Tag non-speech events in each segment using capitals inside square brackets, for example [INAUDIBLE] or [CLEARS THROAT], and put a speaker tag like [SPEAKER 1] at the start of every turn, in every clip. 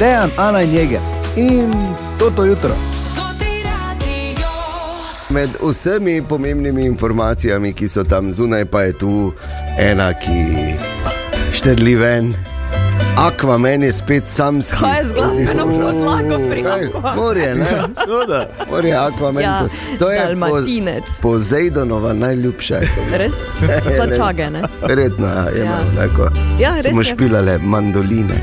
[SPEAKER 1] Dejan, Ana in Jeger in toto jutro.
[SPEAKER 2] Med vsemi pomembnimi informacijami, ki so tam zunaj, pa je tu ena, ki štrli ven. Akvamen je spet sam s
[SPEAKER 3] Kaj je z glasbeno podlago pri Aquamanu?
[SPEAKER 2] Morje, ne? Morje, Akvamen.
[SPEAKER 3] Ja,
[SPEAKER 2] to je
[SPEAKER 3] Dalmatinec.
[SPEAKER 2] Po, po Zejdonova najljubša.
[SPEAKER 3] [LAUGHS] Res? Začage, ne?
[SPEAKER 2] Verjetno ja, je
[SPEAKER 3] Ja.
[SPEAKER 2] ja. tako.
[SPEAKER 3] Ja, res
[SPEAKER 2] Smo
[SPEAKER 3] je.
[SPEAKER 2] špilale mandoline.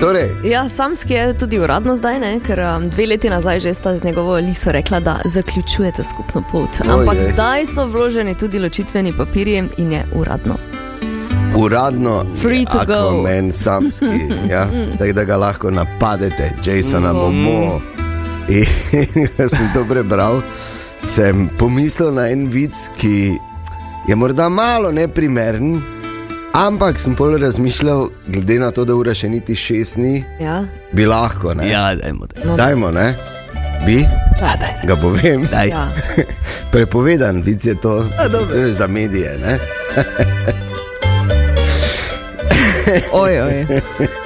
[SPEAKER 2] Torej,
[SPEAKER 3] Ja, samski je tudi uradno zdaj, ne? ker um, dve leti nazaj že sta z njegovo liso rekla, da zaključujete skupno pot. Ampak
[SPEAKER 2] Ojej.
[SPEAKER 3] zdaj so vloženi tudi ločitveni papirji in je uradno.
[SPEAKER 2] uradno
[SPEAKER 3] Free to go.
[SPEAKER 2] Aquaman samski,
[SPEAKER 3] [LAUGHS]
[SPEAKER 2] ja? tako da ga lahko napadete,
[SPEAKER 3] Mm.
[SPEAKER 2] Jasona Momo. In [LAUGHS] ko sem to prebral, sem pomislil na en vic, ki je morda malo neprimeren, ampak sem bolj razmišljal, glede na to, da ura še niti šest ni,
[SPEAKER 3] Ja,
[SPEAKER 2] bi lahko. Ne?
[SPEAKER 4] Ja, dajmo. daj.
[SPEAKER 3] No.
[SPEAKER 2] Dajmo, ne? Bi, ga povem.
[SPEAKER 4] Daj.
[SPEAKER 3] ja.
[SPEAKER 2] [LAUGHS] Prepovedan vic je to,
[SPEAKER 4] dobro.
[SPEAKER 2] vse za medije. Ne?
[SPEAKER 3] Oj, oj.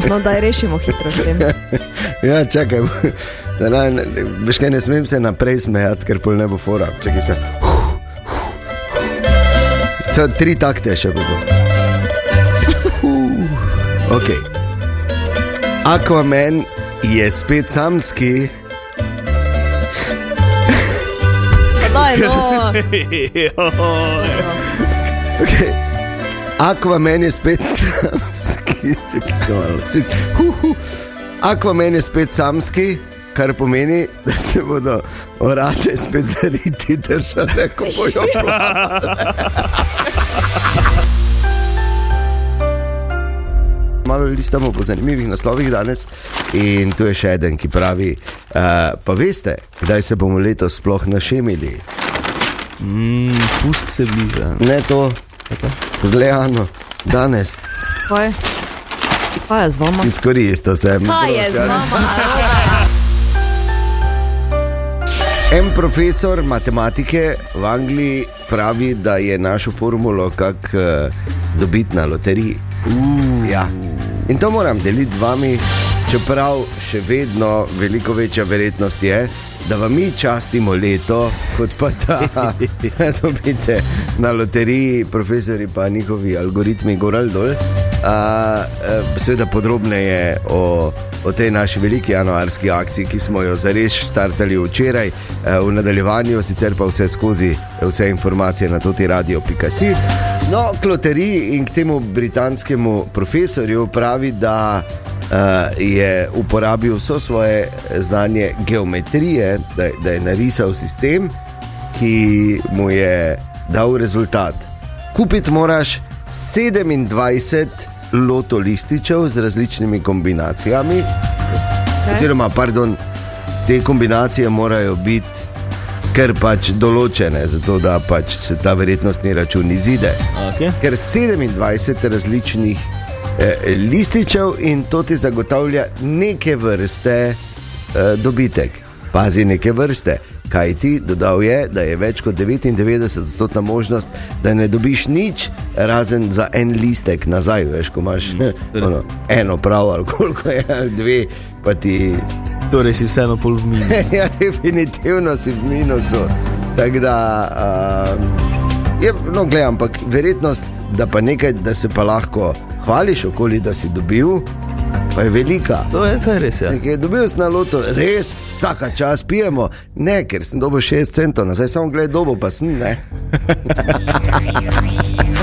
[SPEAKER 3] No, da rešimo hitro s tem.
[SPEAKER 2] Ja, čakaj, [LAUGHS] da naj, ne- veš kaj, ne smem se naprej smejati, ker pol ne bo fora. Čakaj se. So tri takte še kako. Ok. Aquaman je spet samski,
[SPEAKER 3] Daj, no.
[SPEAKER 2] [LAUGHS] okay. Aquaman je spet samski. Čakaj, malo. Čist- hu, hu. Aquaman je spet samski, kar pomeni, da se bodo orate spet zariti države, ko bojo plakali. Malo listamo po zanimivih naslovih danes in tu je še eden, ki pravi, uh, pa veste, kdaj se bomo letos sploh našemili.
[SPEAKER 4] Mm, Pust se bliža.
[SPEAKER 2] Ne to, gledano, danes
[SPEAKER 3] Kaj? Kaj je z vama?
[SPEAKER 2] izkoristil sem.
[SPEAKER 3] Kaj je z vama?
[SPEAKER 2] En profesor matematike v Angliji pravi, da je našo formulo kako uh, dobiti na loteriji. Uh. Ja. In to moram deliti z vami, čeprav še vedno veliko večja verjetnost je, da vam mi častimo leto, kot pa da [LAUGHS] dobite na loteriji, profesori pa njihovi algoritmi gor ali dol. A, eh, seveda podrobneje o, o tej naši veliki januarski akciji, ki smo jo zares štartali včeraj, eh, v nadaljevanju sicer pa vse skozi, eh, vse informacije na toti radio.si. No, kloterij in k temu britanskemu profesorju pravi, da eh, je uporabil vso svoje znanje geometrije, da, da je narisal sistem, ki mu je dal rezultat. Kupiti moraš 27 lotolističev z različnimi kombinacijami, okay. oziroma, pardon, te kombinacije morajo biti ker pač določene, zato da pač se ta verjetnostni račun izide
[SPEAKER 4] Okay.
[SPEAKER 2] ker 27 različnih eh, lističev in to ti zagotavlja neke vrste eh, dobitek. Pazi neke vrste. Kaj ti dodal je, da je več kot 99-odstotna možnost, da ne dobiš nič, razen za en listek nazaj, veš, ko imaš [LAUGHS] ono, eno prav ali koliko je, ali dve, pa ti
[SPEAKER 4] Torej si vseeno pol v minu.
[SPEAKER 2] [LAUGHS] ja, definitivno si v minusu. Tako da, uh, je, no, gledaj, ampak verjetnost, da pa nekaj, da se pa lahko hvališ okoli, da si dobil, pa je velika.
[SPEAKER 4] [LAUGHS] To je, to je res. Ja.
[SPEAKER 2] Ki je dobil na loto, res vsak čas pijemo. Ne, ker sem dobil 6 centov, nazaj samo gledaj dobo, pa sem ne.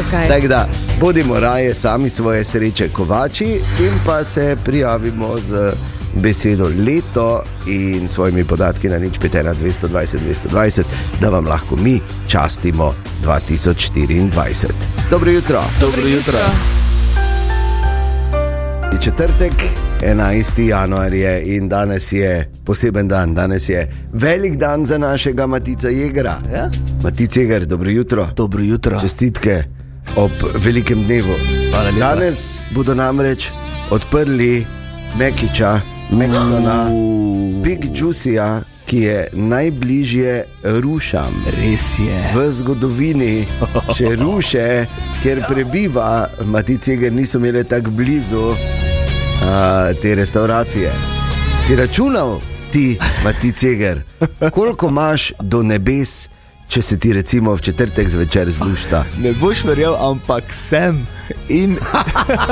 [SPEAKER 3] Okay.
[SPEAKER 2] Tako da, bodimo raje sami svoje sreče kovači in pa se prijavimo z besedo leto in svojimi podatki na nič 5, 220, 220, da vam lahko mi častimo 2024. Dobro jutro. Dobro jutro. Je četrtek, 11. januar je in danes je poseben dan, danes je velik dan za našega Matica Jegra.
[SPEAKER 4] Ja?
[SPEAKER 2] Matic Jeger, dobro jutro.
[SPEAKER 4] Dobro jutro.
[SPEAKER 2] Čestitke ob velikem dnevu.
[SPEAKER 4] Hvala lepa.
[SPEAKER 2] Danes bodo namreč odprli Mekiča, Meksona, Big Juicija, ki je najbližje rušam.
[SPEAKER 4] Res je.
[SPEAKER 2] V zgodovini
[SPEAKER 4] [LAUGHS]
[SPEAKER 2] še
[SPEAKER 4] Ja.
[SPEAKER 2] ruše, kjer prebiva, matice, ker niso imele tako blizu. a, te restauracije. Si računal ti, Mati Ceger, koliko imaš do nebes, če se ti recimo v četrtek zvečer zlušta?
[SPEAKER 4] Ne boš verjel, ampak sem in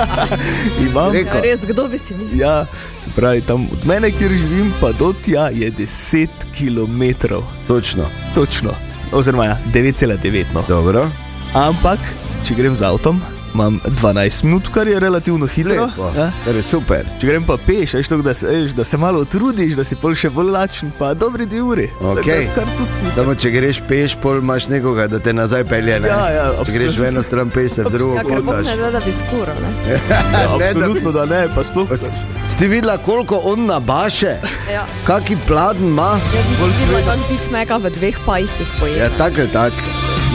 [SPEAKER 4] [LAUGHS] imam.
[SPEAKER 2] Rekel,
[SPEAKER 3] Ja, Res, kdo bi si mislil?
[SPEAKER 4] Ja, se pravi, tam od mene, kjer živim, pa do tja je 10 km,
[SPEAKER 2] točno,
[SPEAKER 4] točno, oziroma ja, 9,9. No.
[SPEAKER 2] dobro.
[SPEAKER 4] Ampak, če grem z avtom, imam 12 minut, kar je relativno hitro.
[SPEAKER 2] Lepo,
[SPEAKER 4] Ja.
[SPEAKER 2] res super.
[SPEAKER 4] Če grem pa peš, veš, tako, da, se, veš, da se malo utrudiš, da si pol še bolj lačen, pa dobri dve uri.
[SPEAKER 2] Okej.
[SPEAKER 4] Tako da Kar tudi ni.
[SPEAKER 2] Samo če greš peš, pol imaš nekoga, da te nazaj pelje. Ne?
[SPEAKER 4] Ja, ja,
[SPEAKER 2] če greš
[SPEAKER 4] absolutno.
[SPEAKER 2] v eno stran, peš se v drugo.
[SPEAKER 3] Ja, ker Bog
[SPEAKER 2] podaš.
[SPEAKER 3] ne da, da bi skoro. Ne?
[SPEAKER 4] Ja,
[SPEAKER 2] Ne, da bi-
[SPEAKER 4] absolutno, da ne, pa sploh.
[SPEAKER 2] Pa s- Ste videla, koliko on nabaše,
[SPEAKER 3] Ja.
[SPEAKER 2] kaki pladen ima?
[SPEAKER 4] Ja,
[SPEAKER 3] Jaz sem videl, da je Big Mac v dveh pajsih
[SPEAKER 2] Ja,
[SPEAKER 3] pojedel.
[SPEAKER 2] tako ali tako.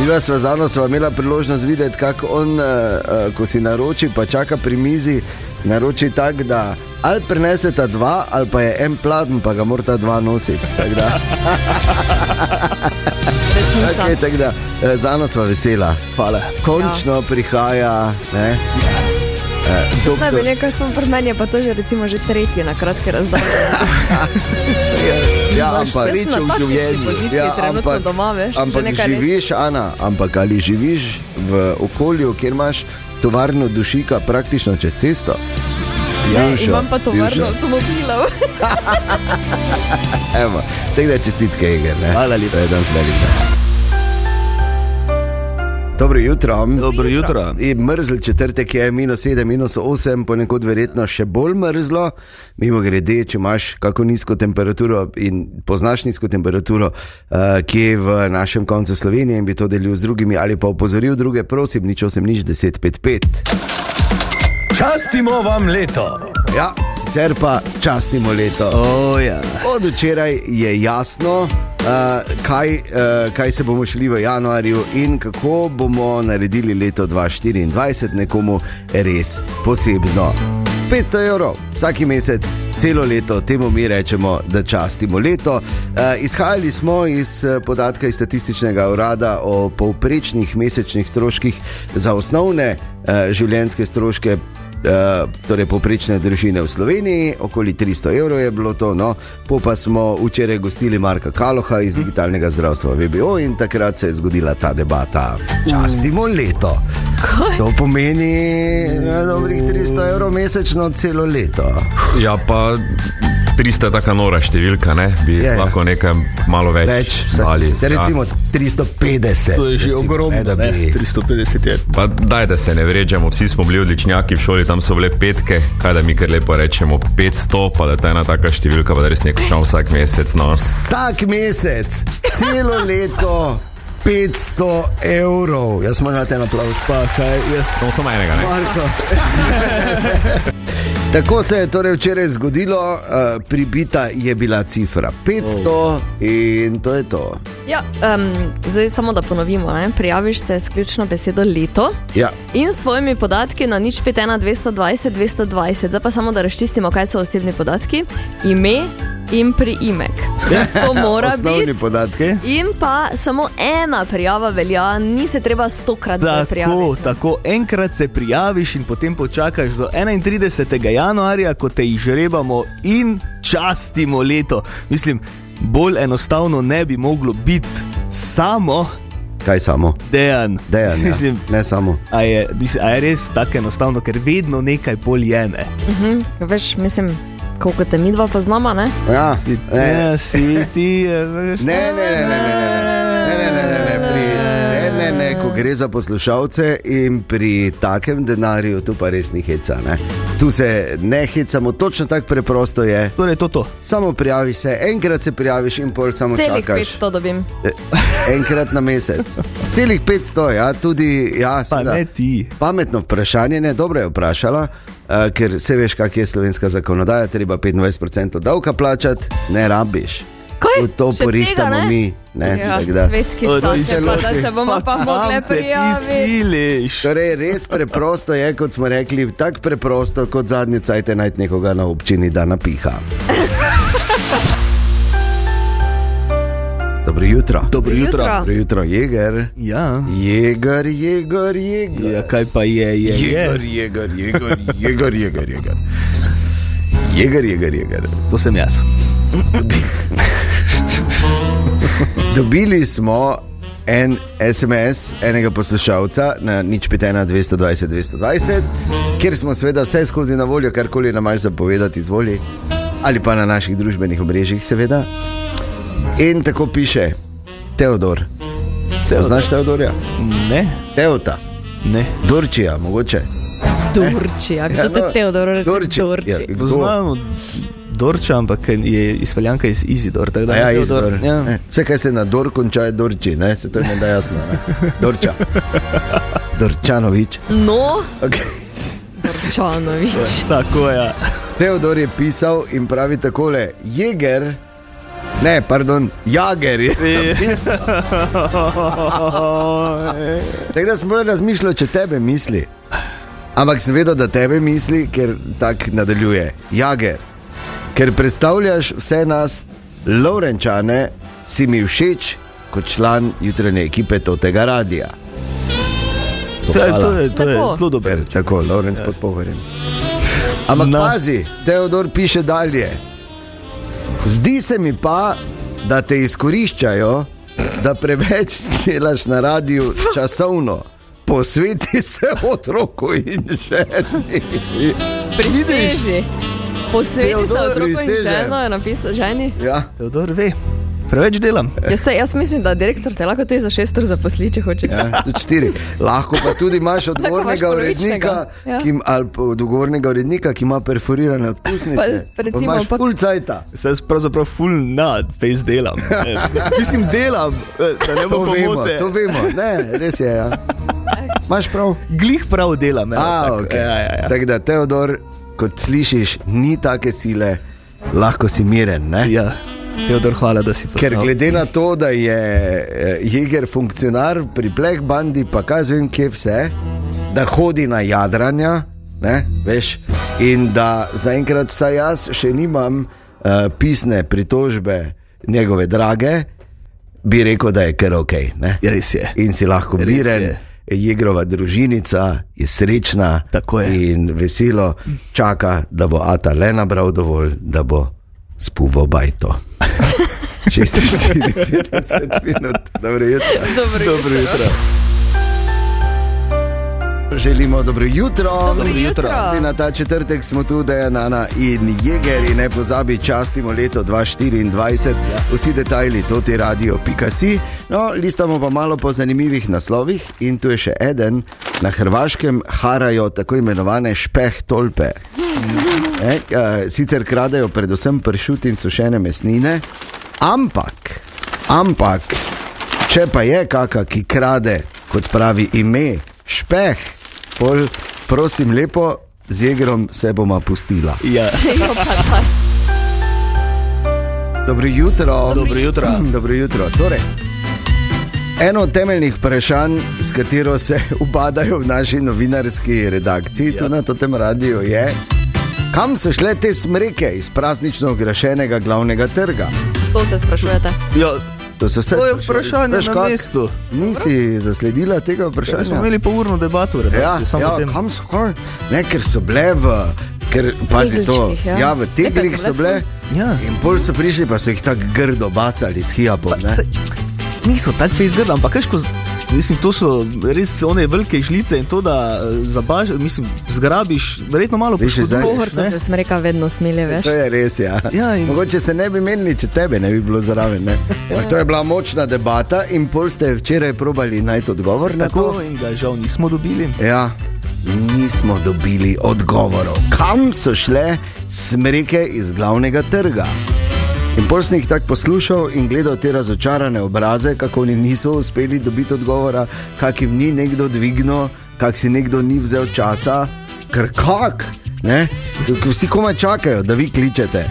[SPEAKER 2] Mi vas v Zano smo imeli priložnost videti, kako on, eh, eh, ko si naroči, pa čaka pri mizi, naroči tako, da ali prenesete dva, ali pa je en pladen, pa ga morata dva nositi. Tako da,
[SPEAKER 3] Resnica.
[SPEAKER 2] tako je, tako da eh, Zano smo vesela.
[SPEAKER 4] Hvala.
[SPEAKER 2] Končno ja. prihaja. Ne, eh,
[SPEAKER 3] Zdaj bi
[SPEAKER 2] doktor-
[SPEAKER 3] nekaj sem pri meni, je pa to že recimo že tretje na kratke razdalje.
[SPEAKER 2] Ja,
[SPEAKER 3] Imaš
[SPEAKER 2] ampak
[SPEAKER 3] šest napak v življenju. poziciji, trenutno doma, veš, že
[SPEAKER 2] Ja, ampak
[SPEAKER 3] nekaj let.
[SPEAKER 2] živiš, Ana, ampak ali živiš v okolju, kjer imaš tovarno dušika praktično čez cesto? Jevša,
[SPEAKER 3] Ja, Imam pa tovarno
[SPEAKER 2] Jevša.
[SPEAKER 3] avtomobilov. [LAUGHS]
[SPEAKER 2] Evo, Tako da čestitke, Igor. ne.
[SPEAKER 4] Hvala lepa.
[SPEAKER 2] To je danes velik dan. Dobro jutro.
[SPEAKER 4] Dobro jutro.
[SPEAKER 2] Je mrzl četrtek, je minus 7, minus 8, ponekod verjetno še bolj mrzlo. Mimo grede, če imaš kako nizko temperaturo in poznaš nizko temperaturo, eh, ki je v našem koncu Slovenije in bi to delil z drugimi ali pa opozoril druge, prosim, nič 8, nič 10, 5, 5.
[SPEAKER 4] Častimo vam leto.
[SPEAKER 2] Ja, sicer pa častimo leto.
[SPEAKER 4] O, ja.
[SPEAKER 2] Od včeraj je jasno, uh, kaj, uh, kaj se bomo šli v januarju in kako bomo naredili leto 2024 nekomu res posebno. 500 evrov vsak mesec, celo leto, temu mi rečemo, da častimo leto. Uh, izhajali smo iz eh, podatka iz statističnega urada o povprečnih mesečnih stroških za osnovne uh, življenjske stroške eh, torej poprečne družine v Sloveniji, okoli 300 evrov je bilo to. No. Po pa smo včeraj gostili Marka Kaloha
[SPEAKER 4] Mhm.
[SPEAKER 2] iz digitalnega zdravstva VBO in takrat se je zgodila ta debata. Častimo
[SPEAKER 4] Mm.
[SPEAKER 2] leto. To pomeni eh, dobrih 300 evrov mesečno celo leto.
[SPEAKER 5] Ja, pa 300 je tako nora številka, ne? bi
[SPEAKER 2] Je,
[SPEAKER 5] je,
[SPEAKER 2] ja.
[SPEAKER 5] lahko nekaj malo več.
[SPEAKER 2] Več, vse,
[SPEAKER 5] dali,
[SPEAKER 2] vse recimo 350.
[SPEAKER 4] ja. To je že
[SPEAKER 2] recimo,
[SPEAKER 4] ogromno,
[SPEAKER 2] ne, da
[SPEAKER 4] ne?
[SPEAKER 2] bi.
[SPEAKER 4] 350 je.
[SPEAKER 5] Pa daj, da se ne vređamo, vsi smo bili odličnjaki v šoli, tam so bile petke, kaj da mi kar lepo rečemo 500, pa da je ta ena taka številka, pa da res nekaj šel vsak mesec. No.
[SPEAKER 2] Vsak mesec, celo leto 500 evrov. Jaz moram dati en aplaus.
[SPEAKER 4] Pa kaj, jaz
[SPEAKER 5] Samo samo enega, ne?
[SPEAKER 2] Marko. [LAUGHS] Tako se je torej včeraj zgodilo, uh, pribita je bila cifra 500 oh. in to je to.
[SPEAKER 3] Ja, um, zdaj samo da ponovimo. Ne? Prijaviš se s ključno besedo leto
[SPEAKER 2] Ja.
[SPEAKER 3] in s svojimi podatki na nič 51 220 220. Zdaj pa samo da razčistimo, kaj so osebni podatki. Ime in
[SPEAKER 2] [LAUGHS]
[SPEAKER 3] priimek. To mora
[SPEAKER 2] Osnovni
[SPEAKER 3] biti.
[SPEAKER 2] podatki.
[SPEAKER 3] In pa samo ena prijava velja, ni se treba stokrat zdaj
[SPEAKER 4] Tako,
[SPEAKER 3] prijaviti.
[SPEAKER 4] tako, enkrat se prijaviš in potem počakaš do 31. januarja, ko te izžrebamo in častimo leto. Mislim, bolj enostavno ne bi moglo biti samo
[SPEAKER 2] Kaj samo?
[SPEAKER 4] dejan.
[SPEAKER 2] Dejan, ja.
[SPEAKER 4] Mislim,
[SPEAKER 2] ne samo.
[SPEAKER 4] a je, mislim, a je res tako enostavno, ker vedno nekaj bolj je. Ne?
[SPEAKER 3] Mhm, veš, mislim, koliko te mi dva poznamo, ne?
[SPEAKER 2] Ja,
[SPEAKER 4] Si,
[SPEAKER 2] ne,
[SPEAKER 4] ja, si ti, eh, veš.
[SPEAKER 2] ne, ne, ne, ne, ne, ne, ne, ne, ne, ne, ne, pri, ne, ne, ne, ko gre za poslušalce in pri takem denarju, tu pa res ni heca. Ne? Tu se ne hecamo, točno tako preprosto je.
[SPEAKER 4] Torej, to je to.
[SPEAKER 2] Samo prijaviš se, enkrat se prijaviš in pol samo
[SPEAKER 3] Celih
[SPEAKER 2] No, čakaš.
[SPEAKER 3] 500 dobim.
[SPEAKER 2] Enkrat na mesec. Celih 500, ja, tudi jaz.
[SPEAKER 4] Pa ne ti.
[SPEAKER 2] Pametno vprašanje, ne, dobro je vprašala, uh, ker se veš, kak je slovenska zakonodaja, treba 25% davka plačati, ne rabiš.
[SPEAKER 3] Kaj?
[SPEAKER 2] V to
[SPEAKER 3] Še tega
[SPEAKER 2] porihtamo
[SPEAKER 3] ne?
[SPEAKER 2] mi. Ne,
[SPEAKER 3] Ja,
[SPEAKER 2] tako da.
[SPEAKER 3] svetki,
[SPEAKER 4] Od
[SPEAKER 3] so, pa, da se bomo pa
[SPEAKER 4] Kam
[SPEAKER 3] mogli
[SPEAKER 4] se ti
[SPEAKER 3] prijaviti.
[SPEAKER 4] siliš.
[SPEAKER 2] Torej, res preprosto je, kot smo rekli, tako preprosto kot zadnji cajt najti nekoga na občini, da napiha. [LAUGHS] Dobro jutro.
[SPEAKER 4] Dobro
[SPEAKER 3] jutro. jutro.
[SPEAKER 2] Dobro jutro, jeger.
[SPEAKER 4] Ja.
[SPEAKER 2] Jeger, jeger, jeger.
[SPEAKER 4] ja, kaj pa je, je, je.
[SPEAKER 2] jeger, jeger, jeger, jeger, jeger, jeger. Jeger, jeger, jeger.
[SPEAKER 4] To sem jaz.
[SPEAKER 2] Dobili smo en SMS enega poslušalca na nič pitena 220 220, kjer smo seveda vse skozi na voljo, karkoli nam imaš zapovedati, izvoli. Ali pa na naših družbenih omrežjih, seveda. In tako piše Teodor. Teodor. Znaš Teodorja?
[SPEAKER 4] Ne,
[SPEAKER 2] Teota,
[SPEAKER 4] ne.
[SPEAKER 2] Dorčija, mogoče.
[SPEAKER 3] Turčija, kdo te
[SPEAKER 2] no,
[SPEAKER 3] Teodor reče?
[SPEAKER 2] Dorčija. Ja,
[SPEAKER 3] Turčija.
[SPEAKER 2] kdo?
[SPEAKER 4] Poznamo Dorča, ampak je izpeljanka iz Izidor. tako da
[SPEAKER 2] A Ja,
[SPEAKER 4] Teodor-
[SPEAKER 2] Izidor.
[SPEAKER 4] Ja.
[SPEAKER 2] Ne, Vse, kar se na Dor konča, je Dorči, ne? se to ne da jasno. Ne?
[SPEAKER 4] [LAUGHS]
[SPEAKER 2] Dorča. Dorčanovič.
[SPEAKER 3] No,
[SPEAKER 2] Okay.
[SPEAKER 3] Čanovič.
[SPEAKER 4] Tako je. Ja.
[SPEAKER 2] Teodor je pisal in pravi takole: Jeger, ne, pardon, Jager je. [LAUGHS] Tako da smo razmišljali, če tebe misli. Ampak sem vedel, da tebe misli, ker tako nadaljuje. Jager, ker predstavljaš vse nas, Lovrenčane, si mi všeč kot član jutranje ekipe tega radia.
[SPEAKER 4] To je, to je, to je
[SPEAKER 3] Tako.
[SPEAKER 4] zelo dober.
[SPEAKER 2] Super, tako, Lorenz pod pohorjem. Ampak no.
[SPEAKER 4] No.
[SPEAKER 2] pazi, Teodor piše dalje. Zdi se mi pa, da te izkoriščajo, da preveč [LAUGHS] delaš na radiju časovno. Posveti se otroku in ženi.
[SPEAKER 3] Priseži. Posveti se
[SPEAKER 2] Teodor,
[SPEAKER 3] otroku in
[SPEAKER 2] prisežem.
[SPEAKER 3] ženo je napisal ženi.
[SPEAKER 2] Ja.
[SPEAKER 4] Teodor ve, preveč delam.
[SPEAKER 2] E,
[SPEAKER 3] Jaz, se, jaz mislim, da direktor te lahko tudi za šest ur zaposli, če hoče. [LAUGHS]
[SPEAKER 2] Ja, tudi štiri. Lahko pa tudi imaš odgovornega
[SPEAKER 3] imaš
[SPEAKER 2] urednika,
[SPEAKER 3] polovičnega, ja.
[SPEAKER 2] ki, ali pa odgovornega urednika, ki ima perforirane
[SPEAKER 3] Pa,
[SPEAKER 2] odpusnice.
[SPEAKER 3] recimo,
[SPEAKER 2] imaš
[SPEAKER 3] pa-
[SPEAKER 2] pulcajta.
[SPEAKER 4] Saj jaz pravzaprav full na face delam. Ne. [LAUGHS] Mislim, delam, eh, da ne bo
[SPEAKER 2] To vemo,
[SPEAKER 4] pomote.
[SPEAKER 2] to vemo. Ne, res je. Ja. Imaš prav.
[SPEAKER 4] Glih prav delam. evo,
[SPEAKER 2] A,
[SPEAKER 4] tako.
[SPEAKER 2] ok.
[SPEAKER 4] [LAUGHS] ja, ja, ja.
[SPEAKER 2] Tako da, Teodor, kot slišiš, ni take sile, lahko si miren. Ne?
[SPEAKER 4] ja. no. Teodor, hvala, da si prišel.
[SPEAKER 2] Ker glede na to, da je eh, Jeger funkcionar pri Black Bandi, pa kazujem, kje vse, da hodi na jadranja, ne, veš, in da zaenkrat vsaj jaz še nimam uh, pisne pritožbe njegove drage, bi rekel, da je kar ok. Ne?
[SPEAKER 4] Res je.
[SPEAKER 2] in si lahko
[SPEAKER 4] Res
[SPEAKER 2] miren.
[SPEAKER 4] je.
[SPEAKER 2] Jegrova družinica je srečna
[SPEAKER 4] Tako je.
[SPEAKER 2] in veselo čaka, da bo Ata le nabral dovolj, da bo spuval
[SPEAKER 4] [LAUGHS]
[SPEAKER 2] bajto. 56 minut, dobro jutro.
[SPEAKER 3] Dobro jutro.
[SPEAKER 2] Dobro jutro. Želimo dobro jutro.
[SPEAKER 3] Dobro jutro.
[SPEAKER 2] Tudi na ta četrtek smo tu, da je Nana in Jeger in ne pozabi, častimo leto 2024. Vsi detajli to ti radio, pika si. No, listamo pa malo po zanimivih naslovih in tu je še eden. Na Hrvaškem harajo tako imenovane špeh tolpe. E, eh, sicer kradejo predvsem pršut in sušene mesnine, ampak, ampak, če pa je kaka, ki krade, kot pravi ime, špeh, pol, prosim lepo, z jegrom se bomo pustila.
[SPEAKER 4] Ja.
[SPEAKER 2] Dobro jutro.
[SPEAKER 4] Dobro jutro.
[SPEAKER 2] Dobro jutro. Torej, eno od temeljnih vprašanj, s katero se [LAUGHS] upadajo v naši novinarski redakciji, ja. tudi na tem radiju, je, kam so šle te smreke iz praznično okrašenega glavnega trga.
[SPEAKER 3] To se sprašujete.
[SPEAKER 4] Ja,
[SPEAKER 2] To, so vse
[SPEAKER 4] To je
[SPEAKER 2] sprašali.
[SPEAKER 4] vprašanje
[SPEAKER 2] Veš
[SPEAKER 4] na
[SPEAKER 2] kako?
[SPEAKER 4] mestu.
[SPEAKER 2] Nisi zasledila tega
[SPEAKER 4] Prej smo
[SPEAKER 2] vprašanja?
[SPEAKER 4] imeli pol urno debato, v
[SPEAKER 2] Ja,
[SPEAKER 4] redakciji, samo o
[SPEAKER 2] ja,
[SPEAKER 4] tem.
[SPEAKER 2] kam so šle? Ne, ker so bile v. Ker, pazi to,
[SPEAKER 3] Tegličkih,
[SPEAKER 2] ja.
[SPEAKER 3] ja.
[SPEAKER 2] Ja, v
[SPEAKER 3] Nekaj so
[SPEAKER 2] teglih so
[SPEAKER 3] bile
[SPEAKER 2] bile.
[SPEAKER 4] Ja.
[SPEAKER 2] In pol so prišli, pa so jih tako grdo basali s hijapom.
[SPEAKER 4] Pa,
[SPEAKER 2] ne.
[SPEAKER 4] saj, niso tako fejzgrda, ampak kaj, ko, z- mislim, to so res one velike žlice in to, da eh, zabaš, mislim, zgrabiš, verjetno malo
[SPEAKER 2] Veš, zdaj-
[SPEAKER 4] poškoduješ.
[SPEAKER 3] Pohorca se smreka vedno smilje, veš.
[SPEAKER 2] [LAUGHS] To je res. Ja.
[SPEAKER 4] Ja, in- Ja.
[SPEAKER 2] Mogoče se ne bi menili, če tebe ne bi bilo zraven. ne. Ampak To je bila močna debata in pol ste včeraj probali najti odgovor na to.
[SPEAKER 4] Tako in ga žal nismo dobili.
[SPEAKER 2] Ja, nismo dobili odgovorov, kam so šle smreke iz glavnega trga. In pol sem jih tako poslušal in gledal te razočarane obraze, kako oni niso uspeli dobiti odgovora, kak jim ni nekdo dvignil, kak si nekdo ni vzel časa, ker kak. Ne? Vsi komaj čakajo, da vi kličete.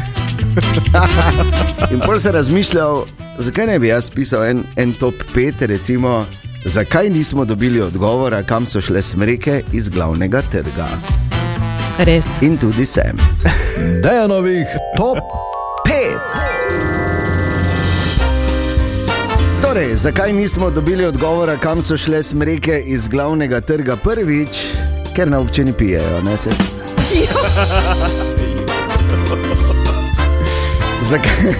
[SPEAKER 2] In pol sem razmišljal, zakaj ne bi jaz pisal en, en top 5, recimo, zakaj nismo dobili odgovora, kam so šle smreke iz glavnega trga.
[SPEAKER 3] Res.
[SPEAKER 2] In tudi sem.
[SPEAKER 1] Dejanovih top 5.
[SPEAKER 2] Torej, zakaj nismo dobili odgovora, kam so šle smreke iz glavnega trga prvič, ker na občini pijejo, ne se. Zakaj,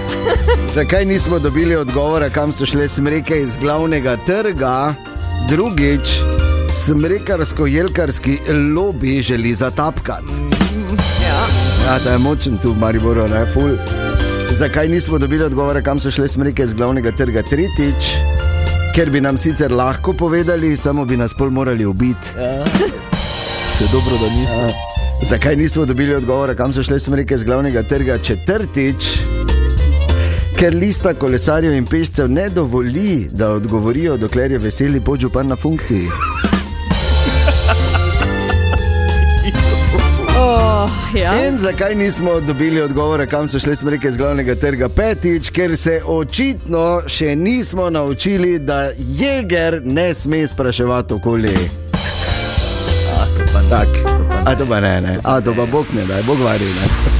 [SPEAKER 2] zakaj nismo dobili odgovora, kam so šle smreke iz glavnega trga? Drugič, smrekarsko-jelkarski lobby želi zatapkati. Ja, ta je močen tu v Mariboru, ne ful. Zakaj nismo dobili odgovora, kam so šle smreke iz glavnega trga? Tretjič, ker bi nam sicer lahko povedali, samo bi nas pol morali ubiti.
[SPEAKER 4] Še dobro, da
[SPEAKER 2] Ja.
[SPEAKER 4] nisem.
[SPEAKER 2] Zakaj nismo dobili odgovora, kam so šle smreke z glavnega trga četrtič? Ker lista kolesarjev in pešcev ne dovoli, da odgovorijo, dokler je veseli podžupan na funkciji.
[SPEAKER 3] Oh, ja.
[SPEAKER 2] In zakaj nismo dobili odgovora, kam so šle smreke z glavnega trga petič? Ker se očitno še nismo naučili, da jeger ne sme spraševati okoli. Tak. A to pa ne, ne. A to pa bog ne, da je bog varil. ne.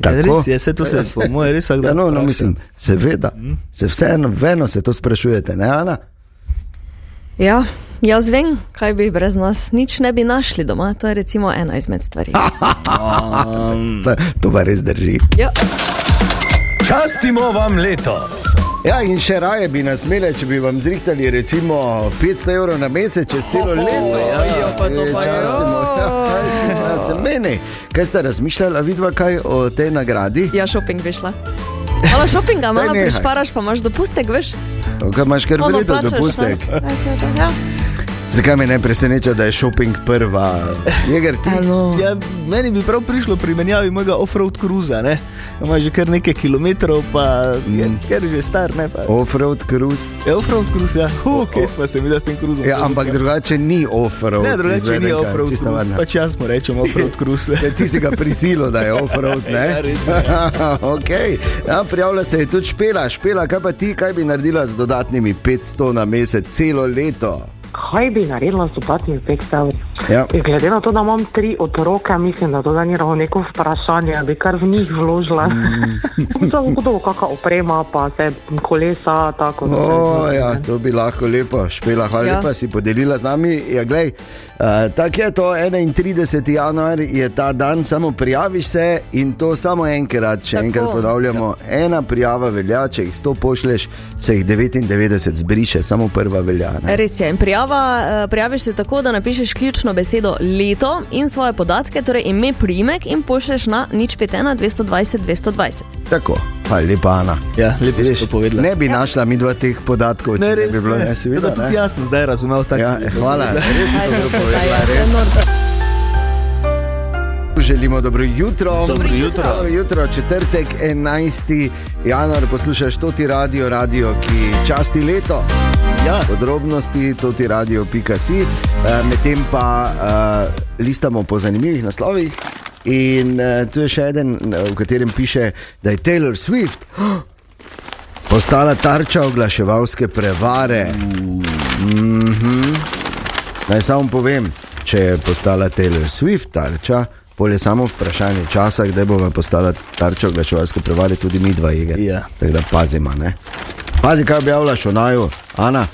[SPEAKER 2] Tako.
[SPEAKER 4] Eh, Res je, vse to se smo, moje res vsak
[SPEAKER 2] Ja,
[SPEAKER 4] dan.
[SPEAKER 2] no, no, mislim, seveda, se vseeno, veno se to sprašujete, ne, Ana?
[SPEAKER 3] Ja, jaz vem, kaj bi brez nas, nič ne bi našli doma. To je recimo ena izmed stvari.
[SPEAKER 2] Se, to pa res drži.
[SPEAKER 3] Ja.
[SPEAKER 1] Častimo vam leto.
[SPEAKER 2] Ja, in še raje bi nas imeli, če bi vam zrihtali recimo 500 evrov na mesec čez celo leto. Ja,
[SPEAKER 3] pa to
[SPEAKER 2] Eh,
[SPEAKER 3] pa
[SPEAKER 2] častimo. Ja, se meni. Kaj ste razmišljali, a vidva kaj o tej nagradi?
[SPEAKER 3] Ja, šoping bi šla. Malo šopinga, malo
[SPEAKER 2] nehaj.
[SPEAKER 3] prišparaš, pa imaš dopustek, veš?
[SPEAKER 2] Kaj imaš kar
[SPEAKER 3] Ono
[SPEAKER 2] veliko
[SPEAKER 3] plačaš,
[SPEAKER 2] dopustek?
[SPEAKER 3] tako. Ja, seveda, ja.
[SPEAKER 2] Zakaj me ne preseneča, da je šoping prva? Jeger, ti,
[SPEAKER 3] Eno.
[SPEAKER 4] Ja, meni bi prav prišlo pri menjavi mojega offroad cruza, ne? Ima že kar nekaj kilometrov, pa je
[SPEAKER 2] Mm.
[SPEAKER 4] ker že star, ne pa.
[SPEAKER 2] offroad cruise.
[SPEAKER 4] Je offroad cruz, ja. Hu, kje smo se mi da s tem cruzom?
[SPEAKER 2] Oh, Ja, ampak drugače ni offroad.
[SPEAKER 4] Ne, drugače ni
[SPEAKER 2] izvedenka,
[SPEAKER 4] offroad
[SPEAKER 2] čista
[SPEAKER 4] cruz,
[SPEAKER 2] varna.
[SPEAKER 4] pač jaz mu rečem
[SPEAKER 2] [LAUGHS]
[SPEAKER 4] offroad cruz.
[SPEAKER 2] Ja, ti si ga prisilil, da je offroad.
[SPEAKER 4] [LAUGHS] Ja,
[SPEAKER 2] ne?
[SPEAKER 4] res je,
[SPEAKER 2] [LAUGHS]
[SPEAKER 4] ja.
[SPEAKER 2] okay. ja, prijavila se je tudi špela, špela, kaj pa ti, kaj bi naredila z dodatnimi 500 na mesec, celo leto.
[SPEAKER 6] Kaj bi naredila s dodatnimi 500 evri?
[SPEAKER 2] Ja.
[SPEAKER 6] Glede na to, da imam tri otroke, mislim, da to da ni ravno neko vprašanje, bi kar v njih vložila. [LAUGHS] Zagotovo kakšna oprema, pa se kolesa, tako da.
[SPEAKER 2] O, ja, to bi lahko lepo, špela, hvala
[SPEAKER 3] Ja.
[SPEAKER 2] ja. lepa, si podelila z nami. Ja, glej, uh, tako je to, 31. januar je ta dan, samo prijaviš se in to samo enkrat, še tako.
[SPEAKER 3] Tako.
[SPEAKER 2] enkrat ponavljamo. Ja. Ena prijava velja, če jih 100 pošleš, se jih 99 zbriše, samo prva velja. Ne?
[SPEAKER 3] Res je. In Prijava, eh, prijaviš se tako, da napišeš ključno besedo leto in svoje podatke, torej ime, priimek in pošleš na nič petena 220 220.
[SPEAKER 2] Tako, hvala lepa, Ana.
[SPEAKER 4] Ja, lepo si
[SPEAKER 2] Vidiš,
[SPEAKER 4] to povedala.
[SPEAKER 2] ne bi našla mi dva teh podatkov, če
[SPEAKER 4] ne, ja, res
[SPEAKER 2] bi bilo, ne, seveda,
[SPEAKER 4] Tako da
[SPEAKER 2] ne.
[SPEAKER 4] tudi jaz sem zdaj razumel tako.
[SPEAKER 2] Ja,
[SPEAKER 4] si-
[SPEAKER 2] hvala, res si to dobro povedala.
[SPEAKER 3] Zdaj,
[SPEAKER 2] Res.
[SPEAKER 3] norca.
[SPEAKER 2] Želimo dobro jutro.
[SPEAKER 4] Dobro jutro.
[SPEAKER 2] Dobro jutro, četrtek 11. januar poslušaš Toti Radio, radio, ki časti leto.
[SPEAKER 4] Ja.
[SPEAKER 2] Podrobnosti Toti Radio.si, medtem pa eh, listamo po zanimivih naslovih. In eh, tu je še eden, eh, v katerem piše, da je Taylor Swift postala tarča oglaševalske prevare. Mhm. Naj samo povem, če je postala Taylor Swift tarča, pol je samo vprašanje časa, kdaj bomo postala tarča oglaševalske prevare, tudi mi dva igre.
[SPEAKER 4] Ja.
[SPEAKER 2] Tako da pazimo, ne. Pazi, kaj objavljaš o naju, Ana.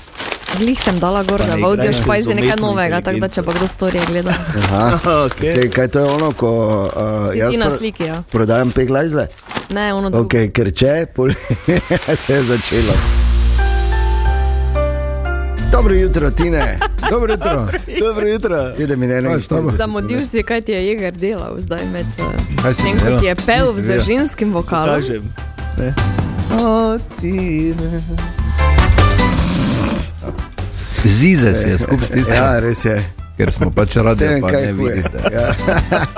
[SPEAKER 3] Glih sem dala gor,
[SPEAKER 4] Pa ne
[SPEAKER 3] da
[SPEAKER 4] igraj
[SPEAKER 3] vodiš
[SPEAKER 4] se
[SPEAKER 3] pa
[SPEAKER 4] z
[SPEAKER 3] iz nekaj
[SPEAKER 4] umetno
[SPEAKER 3] novega, tako da če
[SPEAKER 4] inteligenco.
[SPEAKER 3] pa kdo storije gleda.
[SPEAKER 2] Aha.
[SPEAKER 4] Okay.
[SPEAKER 2] Kaj, kaj to je ono, ko uh,
[SPEAKER 3] Si
[SPEAKER 2] jaz
[SPEAKER 3] ti na
[SPEAKER 2] pro-
[SPEAKER 3] sliki, ja.
[SPEAKER 2] prodajam pek lajzle?
[SPEAKER 3] Ne, ono drugo.
[SPEAKER 2] Ok, ker če, pol- [LAUGHS] se je začelo. Dobro jutro, Tine. Dobro jutro.
[SPEAKER 4] Dobro jutro.
[SPEAKER 2] Sedem in
[SPEAKER 1] Kaj je s tabo?
[SPEAKER 2] 41.
[SPEAKER 3] Zamudil si, kaj ti je Jeger delal zdaj med eh,
[SPEAKER 1] Kaj si
[SPEAKER 3] tem,
[SPEAKER 1] delal?
[SPEAKER 3] ko ti je pel
[SPEAKER 1] Nisem
[SPEAKER 3] z
[SPEAKER 1] vedel.
[SPEAKER 3] ženskim vokalom.
[SPEAKER 4] Kažem. Ne. O, ti ne.
[SPEAKER 1] Zize se je skupaj stisnil,
[SPEAKER 2] Ja, res je.
[SPEAKER 1] ker smo pač radi,
[SPEAKER 2] Vem,
[SPEAKER 1] pa
[SPEAKER 2] kaj
[SPEAKER 1] ne
[SPEAKER 2] huje.
[SPEAKER 1] vidite.
[SPEAKER 2] Ja.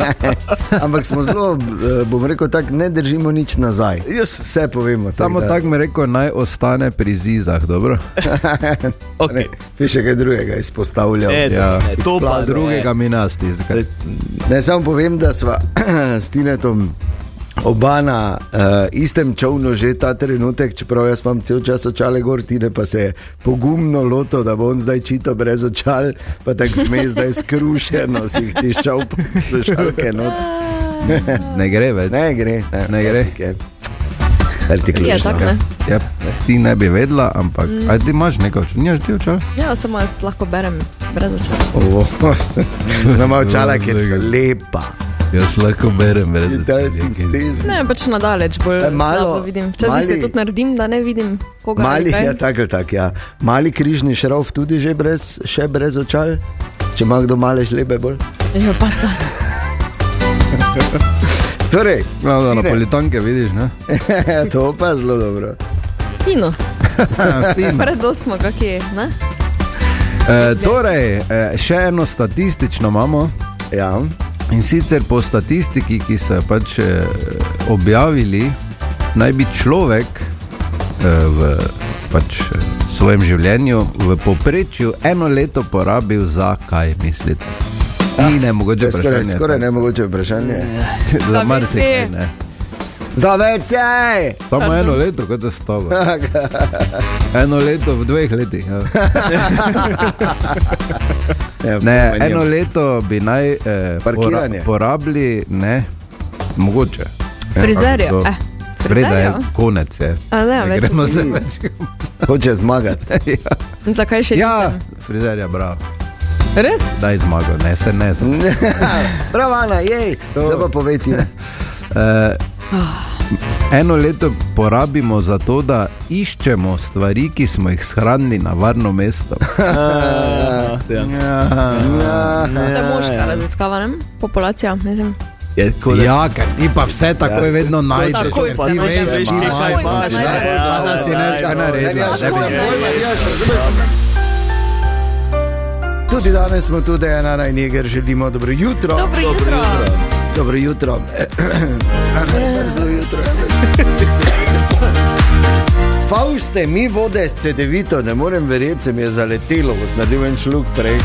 [SPEAKER 2] [LAUGHS] Ampak smo zelo, eh, bom rekel, tako ne držimo nič nazaj.
[SPEAKER 4] Jaz
[SPEAKER 2] Vse povemo. tak,
[SPEAKER 1] Samo
[SPEAKER 2] da-
[SPEAKER 1] tako mi reko, naj ostane pri zizah,
[SPEAKER 4] [LAUGHS]
[SPEAKER 1] dobro?
[SPEAKER 4] Okay.
[SPEAKER 2] Piše kaj drugega, izpostavljam.
[SPEAKER 4] Ne,
[SPEAKER 1] Ja.
[SPEAKER 4] ne, ne, to pa
[SPEAKER 2] Izplaz
[SPEAKER 1] Drugega mi nasti.
[SPEAKER 4] Zdaj,
[SPEAKER 2] Ne, samo povem, da sva [CLEARS THROAT] s Tinetom. Oba na uh, istem čovnu že ta trenutek, čeprav jaz imam cel čas očale gor, Tine pa se je pogumno lotil, da bo on zdaj čito brez očal, pa tako vmes zdaj skrušeno si jih tiščal po slušalke. Not.
[SPEAKER 1] Ne gre več.
[SPEAKER 2] Ne gre,
[SPEAKER 1] Ne gre.
[SPEAKER 2] Artikl
[SPEAKER 3] Je tako, ne?
[SPEAKER 1] Ja, ti ne bi vedela, ampak mm. ti imaš nekaj, če nimaš ti očal.
[SPEAKER 3] Ja, samo jaz lahko berem brez očal.
[SPEAKER 2] Ovo, [LAUGHS] na malo čala, ker so lepa.
[SPEAKER 1] Jaz lahko berem, brez
[SPEAKER 2] In da si
[SPEAKER 1] nekaj.
[SPEAKER 2] stisnil.
[SPEAKER 3] Ne, pač nadaleč bolj
[SPEAKER 2] E, malo-
[SPEAKER 3] malo vidim. Včasih se
[SPEAKER 2] mali-
[SPEAKER 3] tudi naredim, da ne vidim koga. ali
[SPEAKER 2] Mali,
[SPEAKER 3] kaj.
[SPEAKER 2] ja, tako ali tako, ja. Mali križni šrauf tudi že brez, še brez očal, če ima kdo male žlebe bolj.
[SPEAKER 3] Ja, pa ta.
[SPEAKER 2] Torej,
[SPEAKER 1] No, da napolitanke vidiš,
[SPEAKER 2] [LAUGHS]
[SPEAKER 1] ne?
[SPEAKER 2] to pa je zelo dobro.
[SPEAKER 3] Fino.
[SPEAKER 2] Ja,
[SPEAKER 3] Predo smo, kak je, ne?
[SPEAKER 1] E, torej, e, še eno statistično imamo.
[SPEAKER 2] Ja.
[SPEAKER 1] In sicer po statistiki, ki so jo pač eh, objavili, naj bi človek eh, v pač, eh, svojem življenju v povprečju eno leto porabil za kaj mislite. Ni ne
[SPEAKER 2] Ah, To
[SPEAKER 1] mogoče
[SPEAKER 2] je skoraj,
[SPEAKER 1] vprašanje.
[SPEAKER 2] skoraj nemogoče vprašanje.
[SPEAKER 1] za marsikaj. ne.
[SPEAKER 2] Za več je!
[SPEAKER 1] Samo eno leto, kot je [LAUGHS] stalo. Eno leto v dveh letih. [LAUGHS] Ja. Ne, eno leto bi naj eh,
[SPEAKER 2] Parkiranje.
[SPEAKER 1] porabili, ne, mogoče.
[SPEAKER 3] Frizerja.
[SPEAKER 1] ampak to-
[SPEAKER 3] Eh,
[SPEAKER 1] Preda je
[SPEAKER 3] frizerja.
[SPEAKER 1] konec. Je.
[SPEAKER 3] A ne, več.
[SPEAKER 1] Gremo se več.
[SPEAKER 2] Hoče zmagati.
[SPEAKER 3] Zakaj še
[SPEAKER 1] Ja,
[SPEAKER 3] nisem?
[SPEAKER 1] frizerja, bravo.
[SPEAKER 3] Res?
[SPEAKER 1] Daj zmago, ne se ne. Se.
[SPEAKER 2] Bravo, Ana, jej, zdaj pa povej ti.
[SPEAKER 1] Eh, eno leto porabimo za to, da iščemo stvari, ki smo jih shranili na varno mesto.
[SPEAKER 4] Ah, ja.
[SPEAKER 3] To je moška raziskava, ne? Populacija, mislim.
[SPEAKER 4] Je, tako da-
[SPEAKER 1] Ja, ker ti pa vse takoj ja, vedno najdeš.
[SPEAKER 3] takoj
[SPEAKER 1] ker
[SPEAKER 3] pa
[SPEAKER 1] ti
[SPEAKER 3] najdeš,
[SPEAKER 1] veš,
[SPEAKER 3] takoj
[SPEAKER 1] imaš,
[SPEAKER 3] pa
[SPEAKER 1] imaš,
[SPEAKER 3] najdeš.
[SPEAKER 1] ne.
[SPEAKER 3] Ja,
[SPEAKER 1] A da si ne veš, kaj naredila, ne bi bilo.
[SPEAKER 2] Tudi danes smo tudi ena najniger, želimo dobro jutro.
[SPEAKER 3] Dobro jutro.
[SPEAKER 2] Dobro jutro. [CLEARS THROAT] Zelo jutro. Fauste, mi vode s CD-vito, ne morem verjeti, se mi je zaletelo, ko sem naredil en šluk prej.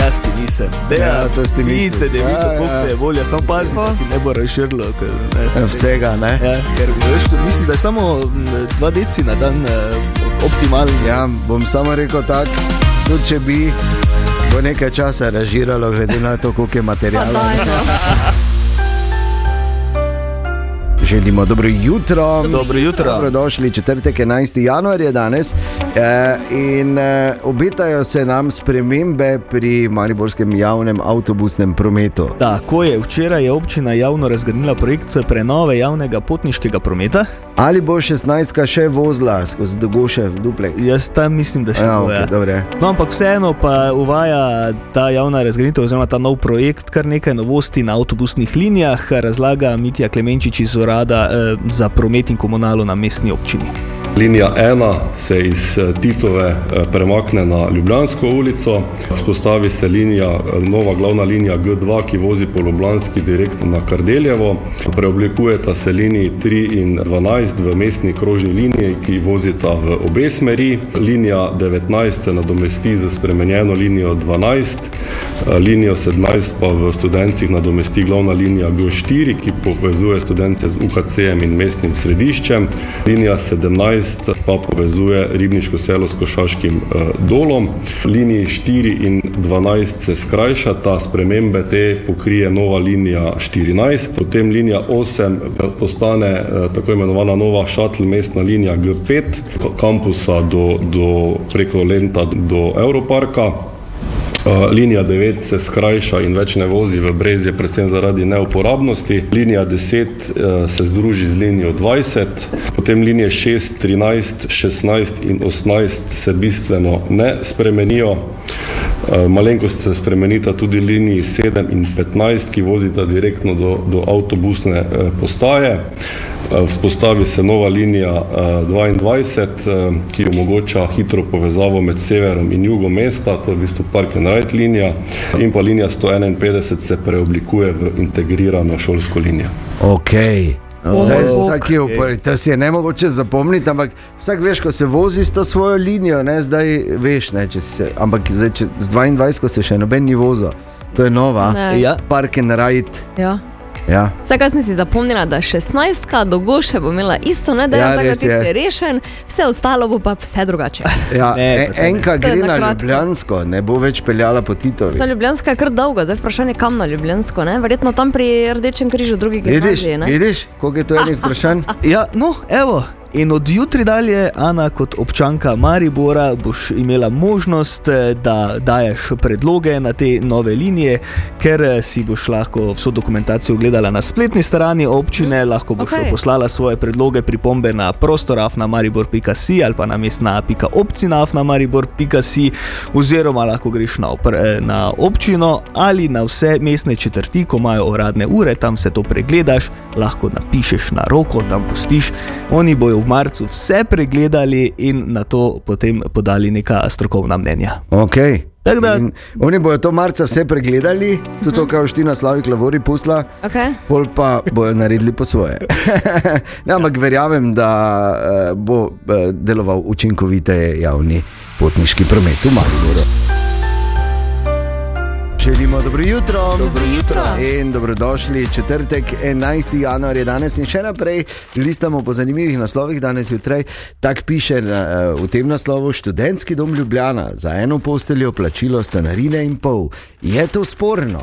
[SPEAKER 4] Jaz ti nisem.
[SPEAKER 2] Ja, to si ti mislil.
[SPEAKER 4] Nice, da
[SPEAKER 2] Ja, ja.
[SPEAKER 4] vidiš, koliko te je volja, samo pazi, da ti ne bo razširilo. ker, ne.
[SPEAKER 2] Vsega, ne?
[SPEAKER 4] Ja, ker veš, to mislim, da je samo m, dva deci na dan eh, optimalen.
[SPEAKER 2] Ja, bom samo rekel tako, tudi če bi, bo nekaj časa režiralo, glede na to, koliko je
[SPEAKER 3] Pa
[SPEAKER 2] materijala.
[SPEAKER 3] daj, no.
[SPEAKER 2] Želimo dobro jutro.
[SPEAKER 4] Dobro jutro.
[SPEAKER 2] Dobrodošli, četrtek 11. januar je danes eh, in eh, obetajo se nam spremembe pri mariborskem javnem avtobusnem prometu.
[SPEAKER 4] Tako je, včeraj je občina javno razgrnila projekt prenove javnega potniškega prometa.
[SPEAKER 2] Ali bo 16 še vozila skozi dogoše v duplek?
[SPEAKER 4] Jaz tam mislim, da še
[SPEAKER 2] Ja,
[SPEAKER 4] bo,
[SPEAKER 2] okay, dobre.
[SPEAKER 4] No, ampak vseeno pa uvaja ta javna razgrnitev, oziroma ta nov projekt, kar nekaj novosti na avtobusnih linijah, razlaga Mitja Klemenčič iz urada eh, za promet in komunalo na mestni občini.
[SPEAKER 7] Linija ena se iz eh, Titove eh, premakne na Ljubljansko ulico, vzpostavi se linija, eh, nova glavna linija G2, ki vozi po Ljubljanski direktno na Kardeljevo, preoblikujeta se liniji 3 in 12 v mestni krožni liniji, ki vozita v obe smeri, linija 19 se nadomesti z spremenjeno linijo 12, eh, linijo 17 pa v študencih nadomesti glavna linija G4, ki povezuje študente z UKC-jem in mestnim središčem, linija 17 pa povezuje Ribniško selo s Košaškim eh, dolom. Liniji 4 in 12 se skrajšata, spremembe te pokrije nova linija 14, potem linija 8 postane eh, tako imenovana nova šatl mestna linija G5, od kampusa do, do preko Lenta do Europarka. Uh, Linija 9 se skrajša in več ne vozi v Brezje, predvsem zaradi neuporabnosti. Linija 10 eh, se združi z linijo 20, potem linije 6, 13, 16 in 18 se bistveno ne spremenijo. Eh, Malenkost se spremenita tudi liniji 7 in 15, ki vozita direktno do, do avtobusne eh, postaje. Eh, Vzpostavi se nova linija eh, 22, eh, ki omogoča hitro povezavo med severom in jugom mesta, to je v bistvu Park and Ride linija, in pa linija 151 se preoblikuje v integrirano šolsko linijo.
[SPEAKER 2] Okay. No, Zdaj, vsak je upored, to si je ne mogoče zapomniti, ampak vsak veš, ko se vozi s to svojo linijo, ne, zdaj veš, ne, če si se, ampak zdaj, če, z 22 ko se še noben ni vozil, to je nova,
[SPEAKER 3] Ne.
[SPEAKER 4] Ja.
[SPEAKER 2] park and ride.
[SPEAKER 3] Ja.
[SPEAKER 2] Ja.
[SPEAKER 3] Vse, kar sem si zapomnila, da 16, dogoše bo imela isto, ne da
[SPEAKER 2] Ja,
[SPEAKER 3] je
[SPEAKER 2] res
[SPEAKER 3] tako,
[SPEAKER 2] je.
[SPEAKER 3] da je rešen, vse ostalo bo pa vse
[SPEAKER 2] [LAUGHS]
[SPEAKER 3] drugače.
[SPEAKER 2] Ja,
[SPEAKER 4] Ne,
[SPEAKER 2] ne,
[SPEAKER 4] pa se ne.
[SPEAKER 2] enka
[SPEAKER 3] To je
[SPEAKER 2] gre
[SPEAKER 3] na
[SPEAKER 2] na
[SPEAKER 3] kratko.
[SPEAKER 2] Ljubljansko, ne bo več peljala po Titovi.
[SPEAKER 3] Za Ljubljansko je kar dolgo, zdaj vprašanje, kam na Ljubljansko, ne? verjetno tam pri Rdečem križu, drugi
[SPEAKER 2] Vidiš,
[SPEAKER 3] gimnaziji. ne?
[SPEAKER 2] vidiš, koliko je to enih vprašanj?
[SPEAKER 4] Ja, no, evo. In od jutri dalje, Ana, kot občanka Maribora, boš imela možnost, eh, da daješ predloge na te nove linije, ker eh, si boš lahko vso dokumentacijo ogledala na spletni strani občine, lahko boš
[SPEAKER 3] okej.
[SPEAKER 4] okay. poslala svoje predloge, pripombe na prostorafna maribor.si ali pa na mestna.opcinafna maribor.si, oziroma lahko greš na, opr, eh, na občino ali na vse mestne četrti, ko imajo uradne ure, tam se to pregledaš, lahko napišeš na roko, tam pustiš. Oni bojo v marcu vse pregledali in na to potem podali neka strokovna mnenja.
[SPEAKER 2] Okay.
[SPEAKER 4] Tako da-
[SPEAKER 2] Oni bodo to marca vse pregledali, tudi to, kar Ština Slavik Lavori pusla,
[SPEAKER 3] Okay.
[SPEAKER 2] pol pa bojo naredili po svoje. [LAUGHS] ne, ampak verjamem, da eh, bo eh, deloval učinkoviteje javni potniški promet v Mariboru. Želimo dobro jutro. Dobro jutro. In dobrodošli. Četrtek, 11. januar je danes in še naprej listamo po zanimivih naslovih. Danes jutraj tak piše na, eh, v tem naslovu študentski dom Ljubljana za eno posteljo plačilo stanarine in pol. Je to sporno?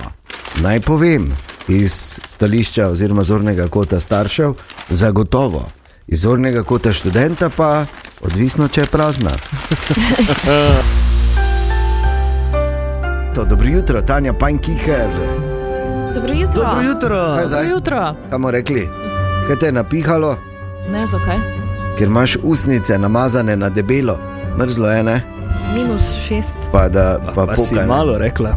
[SPEAKER 2] Naj povem iz stališča oziroma zornega kota staršev, zagotovo. Iz zornega kota študenta pa odvisno, če je prazna. To, dobro jutro, Tanja Pankiher.
[SPEAKER 3] Dobro jutro.
[SPEAKER 4] Dobro jutro!
[SPEAKER 2] Kaj zdaj?
[SPEAKER 3] jutro.
[SPEAKER 2] Kamo rekli, kaj te je napihalo,
[SPEAKER 3] Ne, zakaj?
[SPEAKER 2] ker imaš usnice namazane na debelo, mrzlo je ne,
[SPEAKER 3] Minus šest.
[SPEAKER 2] pa da pa
[SPEAKER 4] Pa si
[SPEAKER 2] pokaj.
[SPEAKER 4] malo rekla.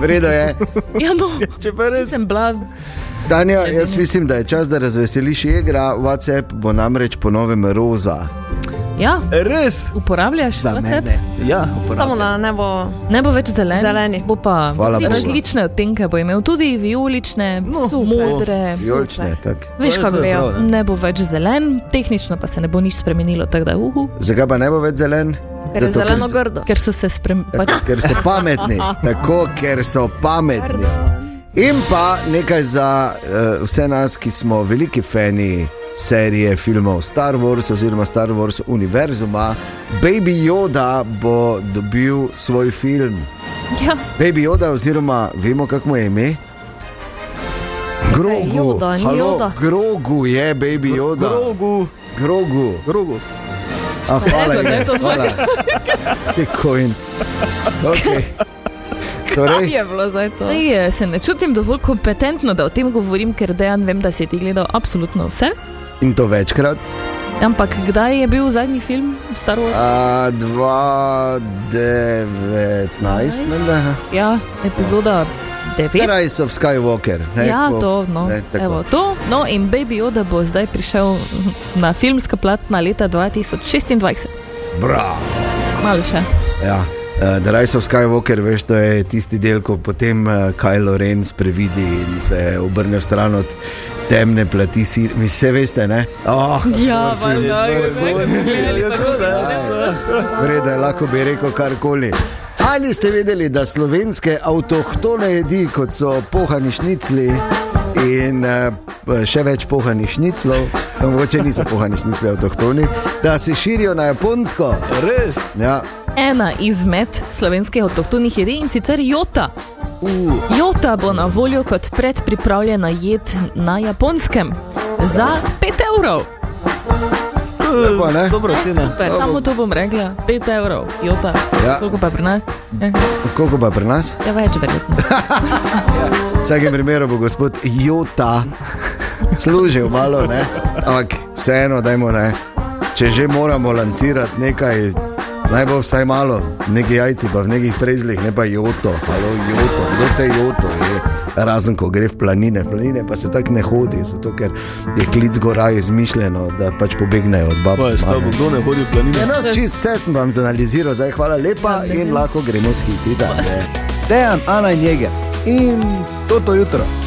[SPEAKER 2] Vredo je.
[SPEAKER 3] Ja, no,
[SPEAKER 4] Če pa res.
[SPEAKER 3] sem bila.
[SPEAKER 2] Tanja, jaz mislim, da je čas, da razveseliš igra. WhatsApp bo namreč po novem roza.
[SPEAKER 8] Ja,
[SPEAKER 4] Res!
[SPEAKER 8] uporabljaš
[SPEAKER 4] Eh, Za
[SPEAKER 8] WhatsApp?
[SPEAKER 4] mene. Ja,
[SPEAKER 3] Samo da ne bo.
[SPEAKER 8] Ne bo več zelen.
[SPEAKER 3] Zeleni.
[SPEAKER 8] Bo pa
[SPEAKER 2] Hvala Bogu.
[SPEAKER 8] različne odtenke bo imel, tudi vijolične, no,
[SPEAKER 3] super.
[SPEAKER 8] modre.
[SPEAKER 2] Vijolične, tako.
[SPEAKER 3] Veš, kako
[SPEAKER 4] je
[SPEAKER 3] vejo.
[SPEAKER 4] prav, ne.
[SPEAKER 8] Ne bo več zelen, tehnično pa se ne bo nič spremenilo, tako da uhu,
[SPEAKER 2] Zakaj pa ne bo več zelen?
[SPEAKER 3] Ker je
[SPEAKER 2] Zato,
[SPEAKER 3] zeleno
[SPEAKER 2] ker,
[SPEAKER 3] grdo.
[SPEAKER 8] ker so se spremenili. Pač,
[SPEAKER 2] s- ker so pametni, tako ker so pametni. In pa nekaj za uh, vse nas, ki smo veliki fani serije filmov Star Wars oziroma Star Wars univerzuma. Baby Yoda bo dobil svoj film.
[SPEAKER 8] ja,
[SPEAKER 2] Baby Yoda, oziroma vemo, kako mu je ime. Grogu,
[SPEAKER 3] Torej, Yoda, ni
[SPEAKER 2] Halo,
[SPEAKER 3] Yoda.
[SPEAKER 2] Grogu je Baby Yoda.
[SPEAKER 4] Grogu,
[SPEAKER 2] Grogu.
[SPEAKER 4] grogu.
[SPEAKER 2] Ah, hvala,
[SPEAKER 8] Rekla, da je
[SPEAKER 2] je.
[SPEAKER 8] to
[SPEAKER 2] hvala. Je kojen. Okay.
[SPEAKER 3] [LAUGHS] Kaj
[SPEAKER 2] Torej,
[SPEAKER 3] je bilo zdaj to?
[SPEAKER 8] sej, eh, se ne čutim dovolj kompetentno, da o tem govorim, ker dejan vem, da si ti gledal absolutno vse.
[SPEAKER 2] in to večkrat.
[SPEAKER 8] Ampak kdaj je bil zadnji film Star Wars?
[SPEAKER 2] A, 2019, menda.
[SPEAKER 8] Ja, epizoda
[SPEAKER 3] Ja.
[SPEAKER 8] 9.
[SPEAKER 2] Rise of Skywalker. Ne,
[SPEAKER 8] Ja,
[SPEAKER 2] ko-
[SPEAKER 8] to, no.
[SPEAKER 2] ne, tako.
[SPEAKER 8] Evo, to. No, in Baby Yoda bo zdaj prišel na filmska platna leta 2026.
[SPEAKER 2] Bravo.
[SPEAKER 8] Malo še.
[SPEAKER 2] Ja. eh, The Rise of Skywalker, veš, to je tisti del, ko potem eh, Kylo Ren sprevidi in se obrne v stran od temne plati, si, vi se veste, ne? Oh,
[SPEAKER 8] Ja, valjda,
[SPEAKER 4] Ja,
[SPEAKER 2] Vredo je, lahko bi rekel karkoli. Ali ste vedeli, da slovenske avtohtone jedi, kot so pohani šnicli in eh, še več pohani šniclov, no, mogoče niso pohani šnicli avtohtoni, da se širijo na Japonsko?
[SPEAKER 4] Res!
[SPEAKER 2] Ja,
[SPEAKER 8] Ena izmed slovenskih avtohtonih jedi in sicer jota.
[SPEAKER 2] Uh.
[SPEAKER 8] Jota bo na voljo kot predpripravljena jed na japonskem za 5 evrov.
[SPEAKER 2] lepo, ne?
[SPEAKER 4] Dobro, cena.
[SPEAKER 8] Super, samo to bom rekla. 5 evrov, jota.
[SPEAKER 2] Ja.
[SPEAKER 8] Koliko pa pri nas? Eh,
[SPEAKER 2] Koliko pa pri nas?
[SPEAKER 8] Ja, več verjetno.
[SPEAKER 2] V vsakem primeru bo gospod Jota služil malo, ne? ampak vseeno, dajmo, ne? če že moramo lancirati nekaj, naj bo vsaj malo, neki jajci pa v nekih prezlih, ne pa Joto, ali Joto, kdo te Joto je. Razen ko gre v planine, v planine pa se tako ne hodi, zato ker je klic gora izmišljeno, da pač pobegnejo od
[SPEAKER 4] Pa
[SPEAKER 2] babic.
[SPEAKER 4] je s tabo, kdo ne hodi v planine.
[SPEAKER 2] Eno, čist Ja, no, vse sem vam zanaliziral, zdaj hvala lepa in lahko gremo s hiti dalje.
[SPEAKER 9] Dejan, Ana in Jeger in toto jutro.